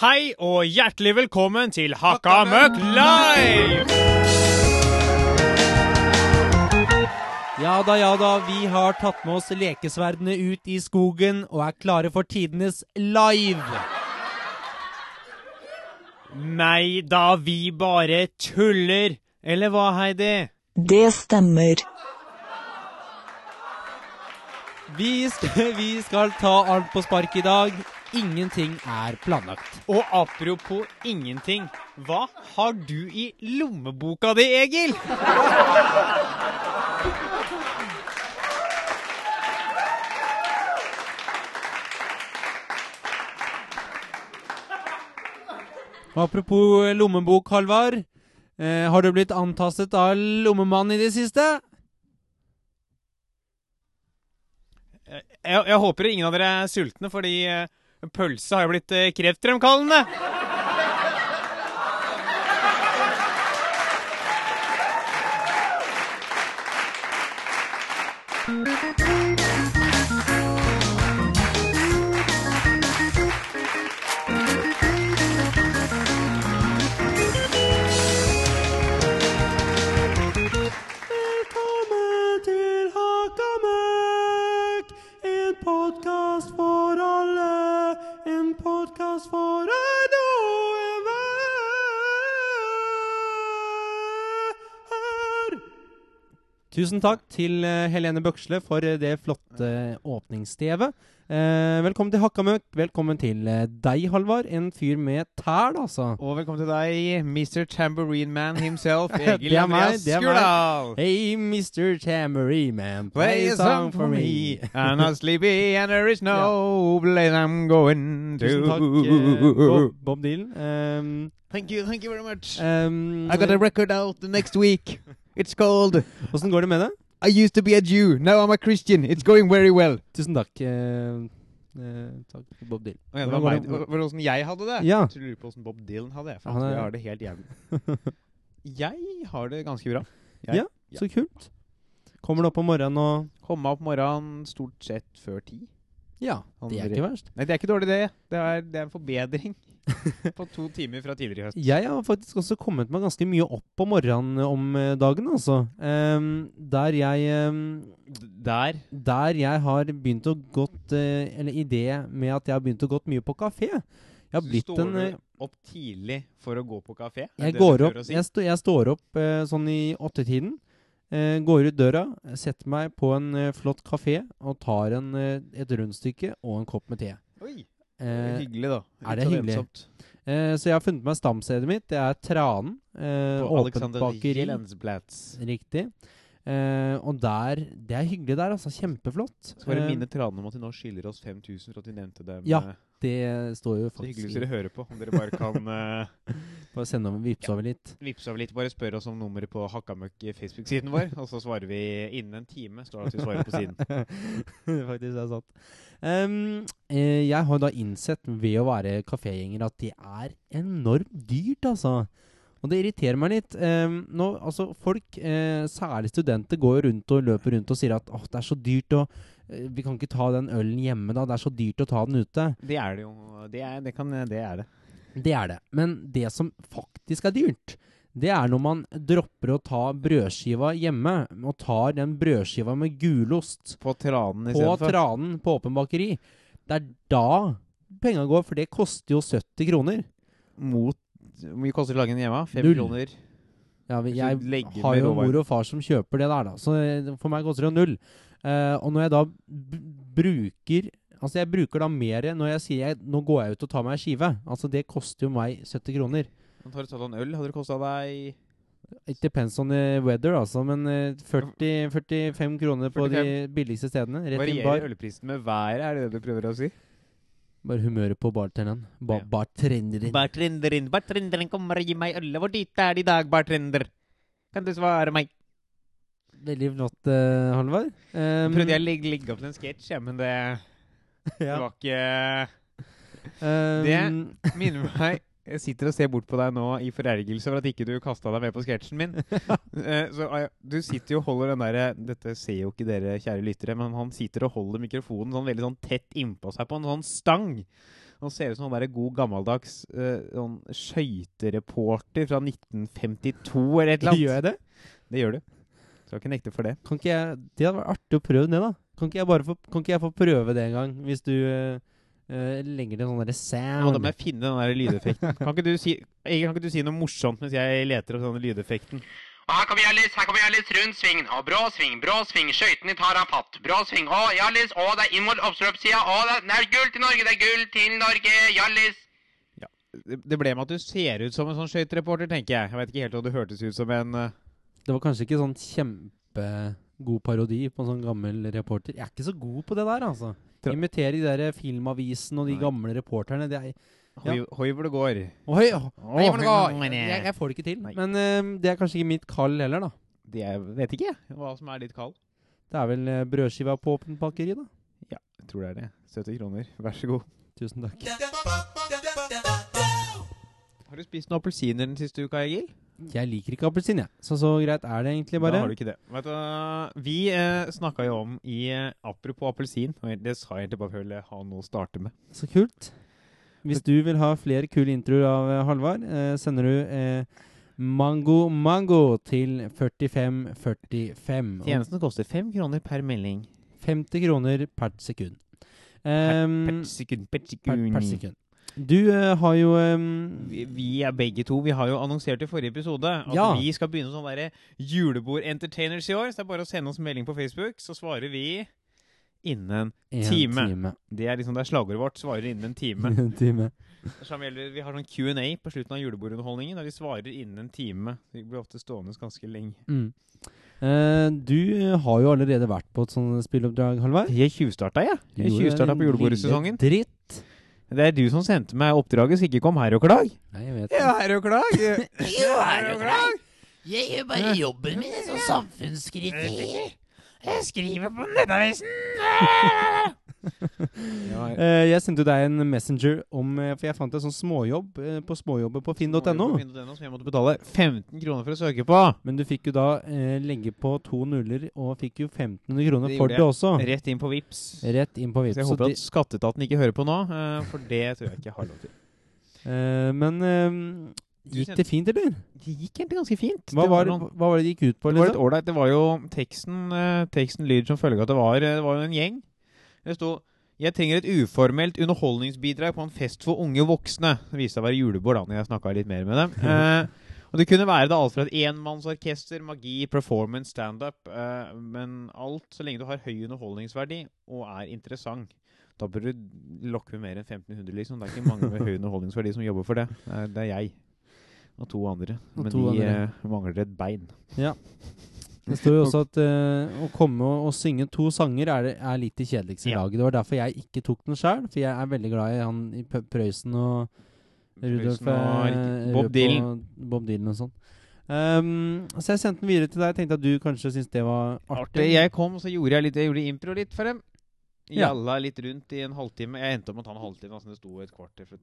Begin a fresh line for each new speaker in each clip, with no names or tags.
Hei og hjertelig velkommen til Hakka Møkk live!
Ja da, ja da, vi har tatt med oss lekesverdene ut i skogen og er klare for tidenes live.
Nei da, vi bare tuller. Eller hva, Heidi?
Det stemmer.
Vi skal, vi skal ta alt på spark i dag. Ingenting er planlagt.
Og apropos ingenting, hva har du i lommeboka di, Egil?
Og Apropos eh, lommebok, Halvard. Eh, har du blitt antastet av lommemannen i det siste?
Jeg, jeg håper ingen av dere er sultne, fordi eh, pølse har jo blitt eh, kreftfremkallende.
Velkommen til Hakamøkk. En podkast for alle. En podkast for en og enhver. Tusen takk til eh, Helene Bøksle for eh, det flotte åpningsstevet. Eh, velkommen til Hakkamøkk. Velkommen til eh, deg, Halvard. En fyr med tæl, altså.
Og velkommen til deg, Mr. Tambourine Man himself,
Egil
Egil
Det er meg, Andreas
Andreas
det er meg.
Skurdal.
Hey, Mr. Tambourine Man,
Play a song for me. I'm not sleepy and there is no place I'm going to. Oh,
Tusen takk, eh, Bob, Bob Dylan. Ehm,
Thank you, thank you very much.
ehm,
I got a record out the next week. It's called
Hvordan går det med det?
I Used to Be a Jew. Now I'm a Christian. It's going very well.
Tusen takk. ehm, eh, takk, Bob Dylen.
Okay,
Hvordan går det?
åssen jeg hadde det?
Ja.
Jeg tror du lurer på åssen Bob Dylan hadde det. For
Han
han
er-
har det helt jævlig. Jeg har det ganske bra. Ja.
Så kult. Kommer du opp om morgenen og
Komme opp morgenen stort sett før ti.
Ja, det er
Andre-
ikke verst.
Nei, det er ikke dårlig, det. Det er, det er en forbedring på to timer fra tidligere i høst.
Jeg har faktisk også kommet meg ganske mye opp om morgenen om eh, dagen, altså. Ehm, der jeg ehm,
Der
Der jeg har begynt å gått eh, Eller i det med at jeg har begynt å gått mye på kafé. Jeg har
Så
blitt
står
en
du
eh,
opp tidlig for å gå på kafé?
Jeg
Er det
går
det du
opp,
prøver å si?
jeg, stå, jeg står opp eh, sånn i åttetiden. Eh, går ut døra, setter meg på en eh, flott kafé og tar en, eh, et rundstykke og en kopp med te.
Oi,
Eh,
hyggelig, da.
er
Litt
det
sånn
hyggelig?
ensomt.
eh, så jeg har funnet meg stamstedet mitt. Det er Tranen. Eh,
På
åpent
Alexander
bakeri.
Jelensplatz.
Riktig. Eh, og der Det er hyggelig der, altså. Kjempeflott.
Skal bare
Eh,
minne Trane om at de nå skylder oss 5000 for at vi nevnte dem.
Ja,
eh,
det står jo
så hyggelig
faktisk
hvis dere hører på. Om dere bare kan eh,
Bare sende over, vippse over litt.
vippse over litt, bare spørre oss om nummeret på Hakkamøkk Facebook-siden vår, og så svarer vi innen en time. Står det at vi svarer på siden.
Det faktisk er sant. Ehm, eh, jeg har da innsett ved å være kafégjenger at det er enormt dyrt, altså. Og det irriterer meg litt. Ehm, nå, altså, folk, eh, særlig studenter, går jo rundt og løper rundt og sier at åh, det er så dyrt å eh, Vi kan ikke ta den ølen hjemme, da. Det er så dyrt å ta den ute.
Det er det jo. Det er det. Kan, det, er det.
Det er det. Men det som faktisk er dyrt, det er når man dropper å ta brødskiva hjemme, og tar den brødskiva med gulost
På Tranen
på
istedenfor.
tranen på åpen bakeri. Det er da penga går, for det koster jo 70 kroner.
Mot Hvor mye koster lagen hjemme? Fem
Null.
kroner?
Ja, vi-
Hvis
jeg
du legger
har
med
jo
råvarer.
mor og far som kjøper det der, da. Så eh, for meg koster det jo null. Eh, og når jeg da b bruker Altså jeg bruker da mer når jeg sier jeg, nå går jeg ut og tar meg en skive. Altså det koster jo meg 70 kroner.
Men Tar du tatt en øl, hadde det kosta deg
It depends on the weather, altså. Men eh, 40, 45 kroner på de billigste stedene. Rett inn
Varierer
bar.
ølprisen med været, er det det du prøver å si?
Bare humøret på bartenderen. Ba
Ja.
bartenderen.
Bartenderen, bartenderen, kommer og gi meg ølet. Hvor dyrt er det i dag, bartender? Kan du svare meg?
Veldig flott, eh, Halvard.
Nå
Um,
prøvde jeg å legge, legge opp til en sketsj, ja, men det, det var ikke
Um,
Ehm,
Minner meg Jeg sitter og ser bort på deg nå i forergelse over at ikke du kasta deg med på sketsjen min. Eh, Så eh, Du sitter jo og holder den derre Dette ser jo ikke dere, kjære lyttere, men han sitter og holder mikrofonen sånn veldig sånn tett innpå seg på en sånn stang.
Han ser ut som han der god gammeldags eh, sånn skøytereporter fra 1952 eller et eller annet.
Gjør jeg det?
Det gjør du. Skal ikke nekte for det.
Kan ikke jeg, det hadde vært artig å prøve det, da. Kan ikke jeg, bare få, kan ikke jeg få prøve det en gang, hvis du eh, eh, legger til en sånn derre
Nå må
sound?
jeg finne den der lydeffekten. Kan ikke, du si, Egil, kan ikke du si noe morsomt mens jeg leter opp denne lydeffekten?
Og her kommer Hjallis, her kommer Hjallis, rund sving, og brå sving, brå sving, skøytene tar han fatt, brå sving, og Hjallis, og det er inn mot oppstrøpssida, og det er, det er gull til Norge, det er gull til Norge, Hjallis.
Det det ble med at du ser ut som en sånn skøytereporter, tenker jeg. Jeg vet ikke helt om du hørtes ut som en eh,
Det var kanskje ikke sånn kjempegod parodi på en sånn gammel reporter. Jeg er ikke så god på det der, altså.
Tra-
Imitere de der filmavisen og de
Nei.
gamle reporterne. Det er Ja.
hoi- Hoivlegård.
Oi, å,
Å,
jeg,
men, eh,
jeg, jeg får det ikke til.
Nei.
Men eh, det er kanskje ikke mitt kall heller, da.
Det jeg vet ikke jeg, hva som er ditt kall.
Det er vel eh, brødskiva på åpent bakeri, da.
Jeg tror det er det. 70 kroner. Vær så god.
Tusen takk.
Har du spist noen appelsiner den siste uka, Egil?
Jeg liker ikke appelsin, jeg. Så så greit er det egentlig bare.
Da har du ikke det. Vet du, hva? vi eh, snakka jo om i eh, Apropos appelsin, og det sa jeg egentlig bare for å ha noe å starte med.
Så kult. Hvis du vil ha flere kule introer av eh, Halvard, eh, sender du eh, Mango Mango til 4545. Og
Tjenesten koster fem kroner per melding.
50 kroner per sekund. Ehm,
Per sekund, per
per,
sekund.
per sekund. Du eh, har jo ehm,
Vi, vi er begge to. Vi har jo annonsert i forrige episode at
Ja.
vi skal begynne sånn derre julebord entertainers i år. Så det er bare å sende oss melding på Facebook, så svarer vi innen
en
time.
time.
Det er liksom det er slagordet vårt. Svarer innen en time.
En time.
Som gjelder, vi har sånn Q&A på slutten av julebordunderholdningen, der vi svarer innen en time. Vi blir ofte stående ganske lenge.
Mm. Eh, du har jo allerede vært på et sånt spilleoppdrag, Halvard.
Jeg tjuvstarta, jeg.
Du
Jeg
gjorde
tjuvstarta
det,
på
din
julebordsesongen.
lille Dritt.
Det er du som sendte meg oppdraget, så ikke kom her og klag.
Nei, jeg vet
Ja, her og klag.
her og klag. Jeg gjør bare jobben min som samfunnskritikk. Jeg skriver på Nettavisen.
Ja,
Eh, jeg sendte jo deg en messenger om eh, For jeg fant en sånn småjobb eh, på småjobber på finn.no.
Som jeg måtte betale 15 kroner for å søke på.
Men du fikk jo da eh, legge på to nuller, og fikk jo 1500 kroner
Det
for
gjorde
det også.
Rett inn på Vips.
Ah. Rett inn på
Så
Vipps.
jeg
Så
håper
de-
at skatteetaten ikke hører på nå, eh, for det tror jeg ikke jeg har lov til.
eh, men eh,
Du
gikk
sendte-
det fint, eller?
Det gikk egentlig ganske fint.
Hva var,
noen-
hva var det det gikk ut på?
Det var litt
Liksom?
ålreit. Det var jo teksten, eh, teksten lyder som følger at det var, eh, det var jo en gjeng. Det sto jeg trenger et uformelt underholdningsbidrag på en fest for unge voksne. Det viste seg å være julebord, da, når jeg snakka litt mer med dem. Eh, og det kunne være da alt fra et enmannsorkester, magi, performance, standup. Eh, men alt så lenge du har høy underholdningsverdi og er interessant. Da bør du lokke med mer enn 1500, liksom. Det er ikke mange med høy underholdningsverdi som jobber for det. Det er, det er jeg. Og to andre.
Og
Men
to
de
andre.
eh, mangler et bein.
Det står jo også at eh, å komme og, og synge to sanger er, det- er litt det kjedeligste i
Ja.
laget. Det var derfor jeg ikke tok den sjøl, for jeg er veldig glad i han i P- Prøysen og Rudolf
Prøysen og
eh,
Rik- Bob
Røp
Dylan.
og Bob Dylan og sånn. Ehm, så jeg sendte den videre til deg. Tenkte at du kanskje syntes det var artig.
Artig. Jeg kom, så gjorde jeg litt Jeg gjorde impro litt for dem.
Ja.
Gjalla litt rundt i en halvtime. Jeg endte opp med å ta en halvtime. Altså det sto et kvarter for,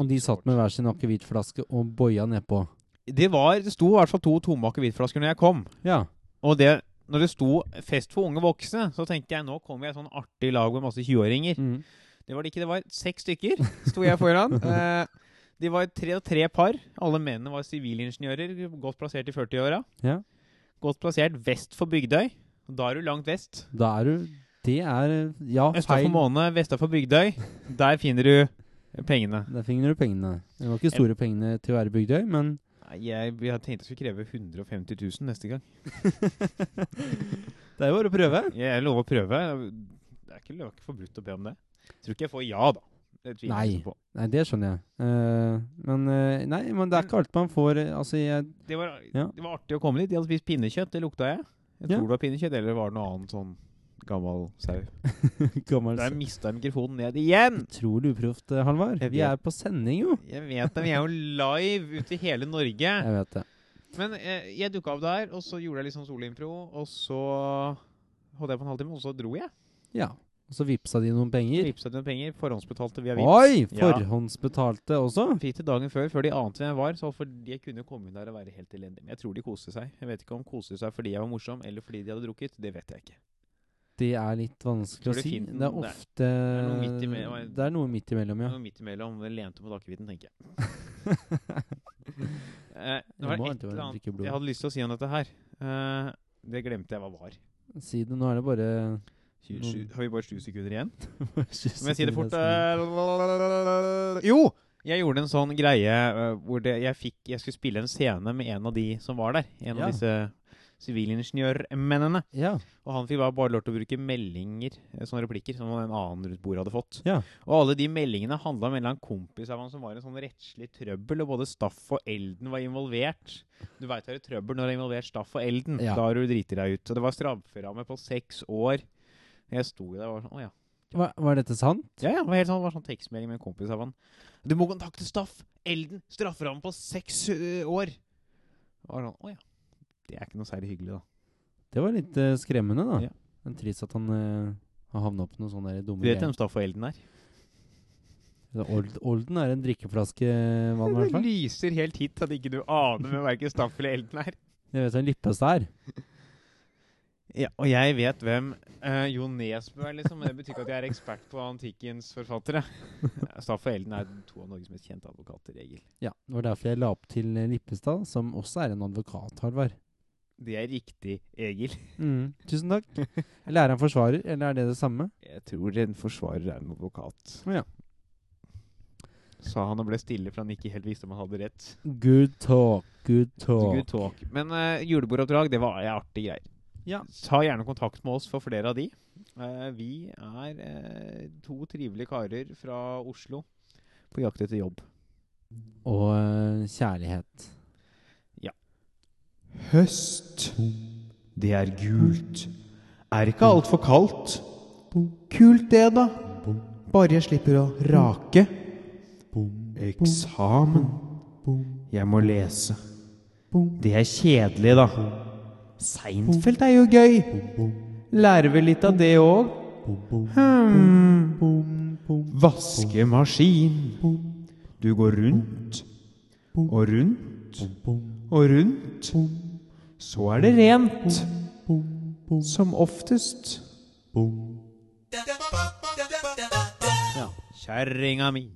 Og de satt med hver sin akevittflaske og boia nedpå.
det, var, det sto i hvert fall to tomme akevittflasker når jeg kom.
Ja.
Og det, når det sto 'Fest for unge voksne', så tenkte jeg nå kommer jeg i et sånn artig lag med masse 20-åringer.
Mm.
Det var det ikke. Det var seks stykker, sto jeg foran. Eh, de var tre og tre par. Alle mennene var sivilingeniører, godt plassert i 40-åra.
Ja.
Godt plassert vest for Bygdøy. Da er du langt vest.
Da er du Det er Ja,
Østa for
feil.
Måne, Vesta for Bygdøy. Der finner du pengene.
Der finner du pengene. Det var ikke store pengene til å være Bygdøy, men
Nei, Jeg, jeg tenkte jeg skulle kreve 150 000 neste gang.
Det er jo bare å prøve.
Jeg lover å prøve. Det er ikke, det var ikke forbudt å be om det. Jeg tror ikke jeg får ja, da. Det tviler jeg
Nei.
ikke på.
Nei, det skjønner jeg. Eh, men eh, Nei, men det er ikke alt man får eh, Altså, jeg
Det var,
Ja.
det var artig å komme dit. De hadde spist pinnekjøtt, det lukta jeg. Jeg
Ja.
tror det var pinnekjøtt, eller var det noe annet sånn gammel sau.
Gammel
Der mista jeg mikrofonen ned igjen!
Utrolig uproft, eh, Halvard.
Jeg
Vi
vet.
er på sending, jo.
Jeg vet det, men jeg er jo live ute i hele Norge.
Jeg vet det.
Men eh, jeg dukka opp der, og så gjorde jeg litt sånn solimpro, og så holdt jeg på en halvtime, og så dro jeg.
Ja. Og så vippsa de noen penger.
Vipsa dine penger, forhåndsbetalte via Vips.
Oi!
Ja.
Forhåndsbetalte også.
Fikk det dagen før, før de ante hvem jeg var. Så for de kunne komme inn der og være helt elendige. Men jeg tror de koste seg. Jeg vet ikke om koste seg fordi jeg var morsom, eller fordi de hadde drukket. Det vet jeg ikke.
alltid er litt vanskelig
Tror
å
du
si.
fint-
Det er
det er-
ofte
noe midt imellom.
Det er noe midt imellom, ja.
Noe midt imellom. vel Lente mot akevitten, tenker jeg. Eh, det var
må
et
alltid være
eller annet
drikke blod.
Jeg hadde lyst til å si om dette her. Eh, det glemte jeg hva var.
Si det, nå er det bare
Tjue- Har vi bare sju sekunder igjen?
Må
Må jeg si det fort? eh, Jo! Jeg gjorde en sånn greie eh, hvor det, jeg, fikk, jeg skulle spille en scene med en av de som var der. En
Ja.
av disse sivilingeniørmennene.
Ja.
Og han fikk bare, bare lov til å bruke meldinger, eh, sånne replikker, som en annen rundt bordet hadde fått.
Ja.
Og alle de meldingene handla om en eller annen kompis av han som var i en sånn rettslig trøbbel, og både Staff og Elden var involvert. Du veit du er i trøbbel når du er involvert Staff og Elden.
Ja.
Da har du driti deg ut. Og det var strafferamme på seks år. Jeg sto jo der og var sånn Å ja.
Var, var dette sant?
Ja, ja, det var helt sånn, det var sånn tekstmelding med en kompis av han. Du må kontakte Staff. Elden. Strafferamme på seks ø, år. Og var sånn, Å ja. Det er ikke noe særlig hyggelig, da.
Det var litt eh, skremmende, da.
Ja.
Men trist at han eh, har havna opp på noen sånne der dumme
Du vet
greier.
hvem Staff og Elden er?
Old, olden er en drikkeflaske eh, vann, i hvert fall.
lyser helt hit at ikke du aner hvem verken Staff eller Elden er.
Jeg vet hva en Lippestad er.
Ja, og jeg vet hvem uh, Jo Nesbø er, liksom. Men det betyr ikke at jeg er ekspert på antikkens forfattere. Staff og Elden er to av Norges mest kjente advokater, Egil.
Ja, det var derfor jeg la opp til eh, Lippestad, som også er en advokat, Halvard.
Det er riktig, Egil. Mm.
Tusen takk. Eller er han forsvarer, eller er det det samme?
Jeg tror en forsvarer er en advokat.
Ja.
Sa han og ble stille, for han ikke helt visste om han hadde rett.
Good talk, good
Så
talk.
good talk. Men eh, julebordoppdrag, det var eh, artige greier.
Ja.
Ta gjerne kontakt med oss for flere av de. Eh, vi er eh, to trivelige karer fra Oslo på jakt etter jobb.
Og eh, kjærlighet.
Høst. Det er gult. Er ikke altfor kaldt. Kult det, da. Bare jeg slipper å rake. Eksamen. Jeg må lese. Det er kjedelig, da. Seinfeld er jo gøy. Lærer vel litt av det Hmm. òg. Vaskemaskin. Du går rundt og rundt og rundt. Så er det rent. Som oftest. Kjerringa mi,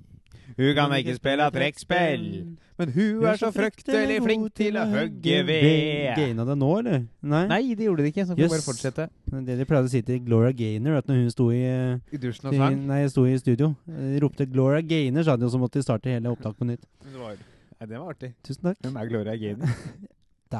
hun kan ikke spille trekkspill. Men hun er så fryktelig flink til å hogge ved.
Gaina det nå, eller? Nei.
Nei, det gjorde det ikke. Så kan vi
Jøss.
bare fortsette.
Men Det de pleide å si til Gloria Gaynor, at når hun sto i, eh,
I dusjen og sang.
nei, sto i studio, eh, ropte 'Gloria Gaynor', sa de, og så måtte de starte hele opptaket på nytt.
Men det var- Nei, det var artig.
Tusen takk.
Hvem er Gloria Gaynor?
Det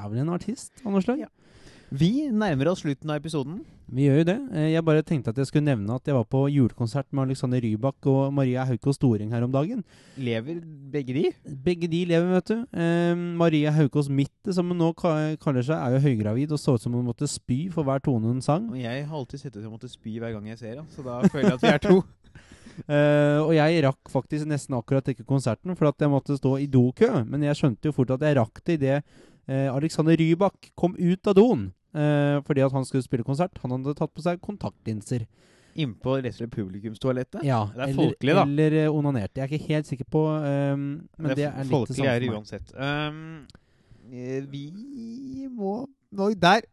er vel en artist av noe slag?
Ja. Vi nærmer oss slutten av episoden.
Vi gjør jo det. Eh, Jeg bare tenkte at jeg skulle nevne at jeg var på julekonsert med Alexander Rybak og Maria Haukaas Storeng her om dagen.
Lever begge de?
Begge de lever, vet du. Eh, Maria Haukaas Mitte, som hun nå ka- kaller seg, er jo høygravid og så ut som hun måtte spy for hver tone hun sang.
Og jeg har alltid sett ut som jeg måtte spy hver gang jeg ser henne, så da føler jeg at vi er to.
Eh, og jeg rakk faktisk nesten akkurat ikke konserten, for at jeg måtte stå i dokø. Men jeg skjønte jo fort at jeg rakk det idet eh, Alexander Rybak kom ut av doen. Eh, fordi at han skulle spille konsert. Han hadde tatt på seg kontaktlinser.
Innpå resten av publikumstoalettet.
Ja,
Det er
eller,
folkelig, da.
Eller eh, onanert. Jeg er ikke helt sikker på eh, Men det, er litt det
Folkelig
samme
er
for
det
meg.
uansett. Um, eh, vi må Oi, der!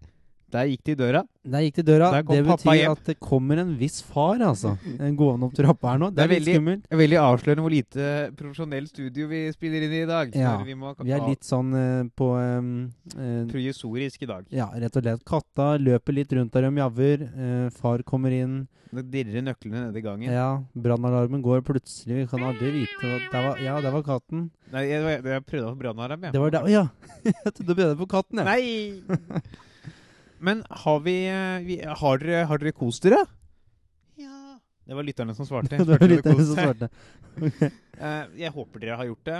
Der gikk det i døra.
Der gikk det i døra.
Der kom
Det
pappa
betyr
hjem.
at det kommer en viss far, altså. En gående opp trappa her nå. Det
Det
er
er
litt skummelt.
Det er Veldig avslørende hvor lite profesjonell studio vi spiller inn i i dag.
Ja,
Når vi, må
Vi er litt sånn eh, på eh, eh,
av- projesorisk i dag.
Ja, rett og slett. Katta løper litt rundt der de javver. Eh, far kommer inn.
Nå dirrer nøklene nede i gangen.
Ja, brannalarmen går plutselig. Vi kan aldri vite hva der var, Ja, der var katten.
Nei, jeg, jeg- jeg prøvde å få brannalarm, jeg.
Det var der Å ja! Jeg trodde du begynte på katten, jeg.
Nei! Men har vi, eh, vi har, dere, har dere kost dere? Ja. Det var lytterne som svarte.
det var
Spurte om
litt
dere
det
koste
som
dere.
svarte.
Eh, jeg håper dere har gjort det.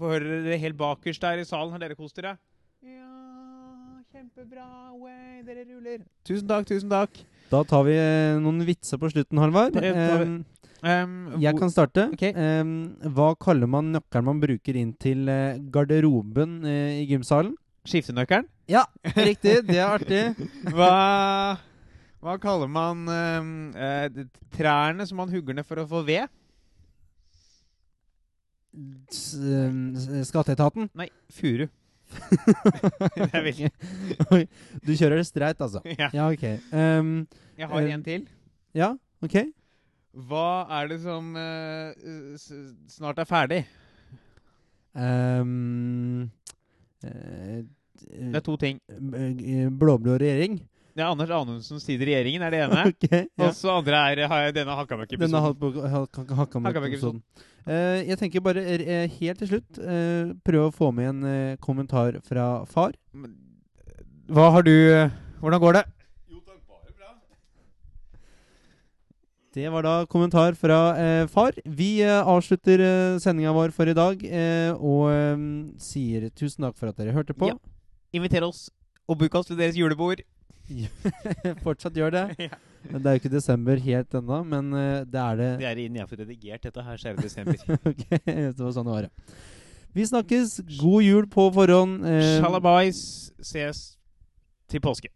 Får høre dere helt bakerst der i salen. Har dere kost dere? Ja, kjempebra. Way, dere ruller. Tusen takk, tusen takk.
Da tar vi eh, noen vitser på slutten, Halvard. Ehm,
Ja, tar vi.
Em,
Em,
jeg
hvor-
kan starte.
Ok.
Em, hva kaller man nøkkelen man bruker inn til eh, garderoben eh, i gymsalen?
Skiftenøkkelen?
Ja, riktig. Det er artig.
Hva, hva kaller man em, eh, de- trærne som man hugger ned for å få ved?
S- em, s- Skatteetaten.
Nei, furu. Det er veldig-
Oi, du kjører det streit, altså.
ja.
Ja, ok. Ehm,
Jeg har
Eh,
en til.
ja, ok.
Hva er det som eh, s snart er ferdig?
Ehm, eh,
Det er to ting.
eh, Blå-blå regjering.
Det er Anders Anundsens tid i regjeringen, er det ene.
Ok, ja.
Og så andre er eh, ha- denne
Denne
Hakkabøkke-episoden.
hakka- hakka-
Hakkabøk-episoden.
hakkamøkkepisoden. Eh, jeg tenker bare eh, helt til slutt eh, prøve å få med en eh, kommentar fra far.
Hva har du eh, Hvordan går det?
Det var da kommentar fra eh, far. Vi eh, avslutter eh, sendinga vår for i dag eh, og eh, sier tusen takk for at dere hørte på.
Ja. Inviter oss og book oss til deres julebord.
Fortsatt gjør det.
Ja.
Det er jo ikke desember helt ennå, men eh, det er det.
Det er innen jeg har fått redigert dette her 4. desember.
Ok, det var sånn det var, ja. Vi snakkes. God jul på forhånd. eh,
Shalabais. Ses til påske.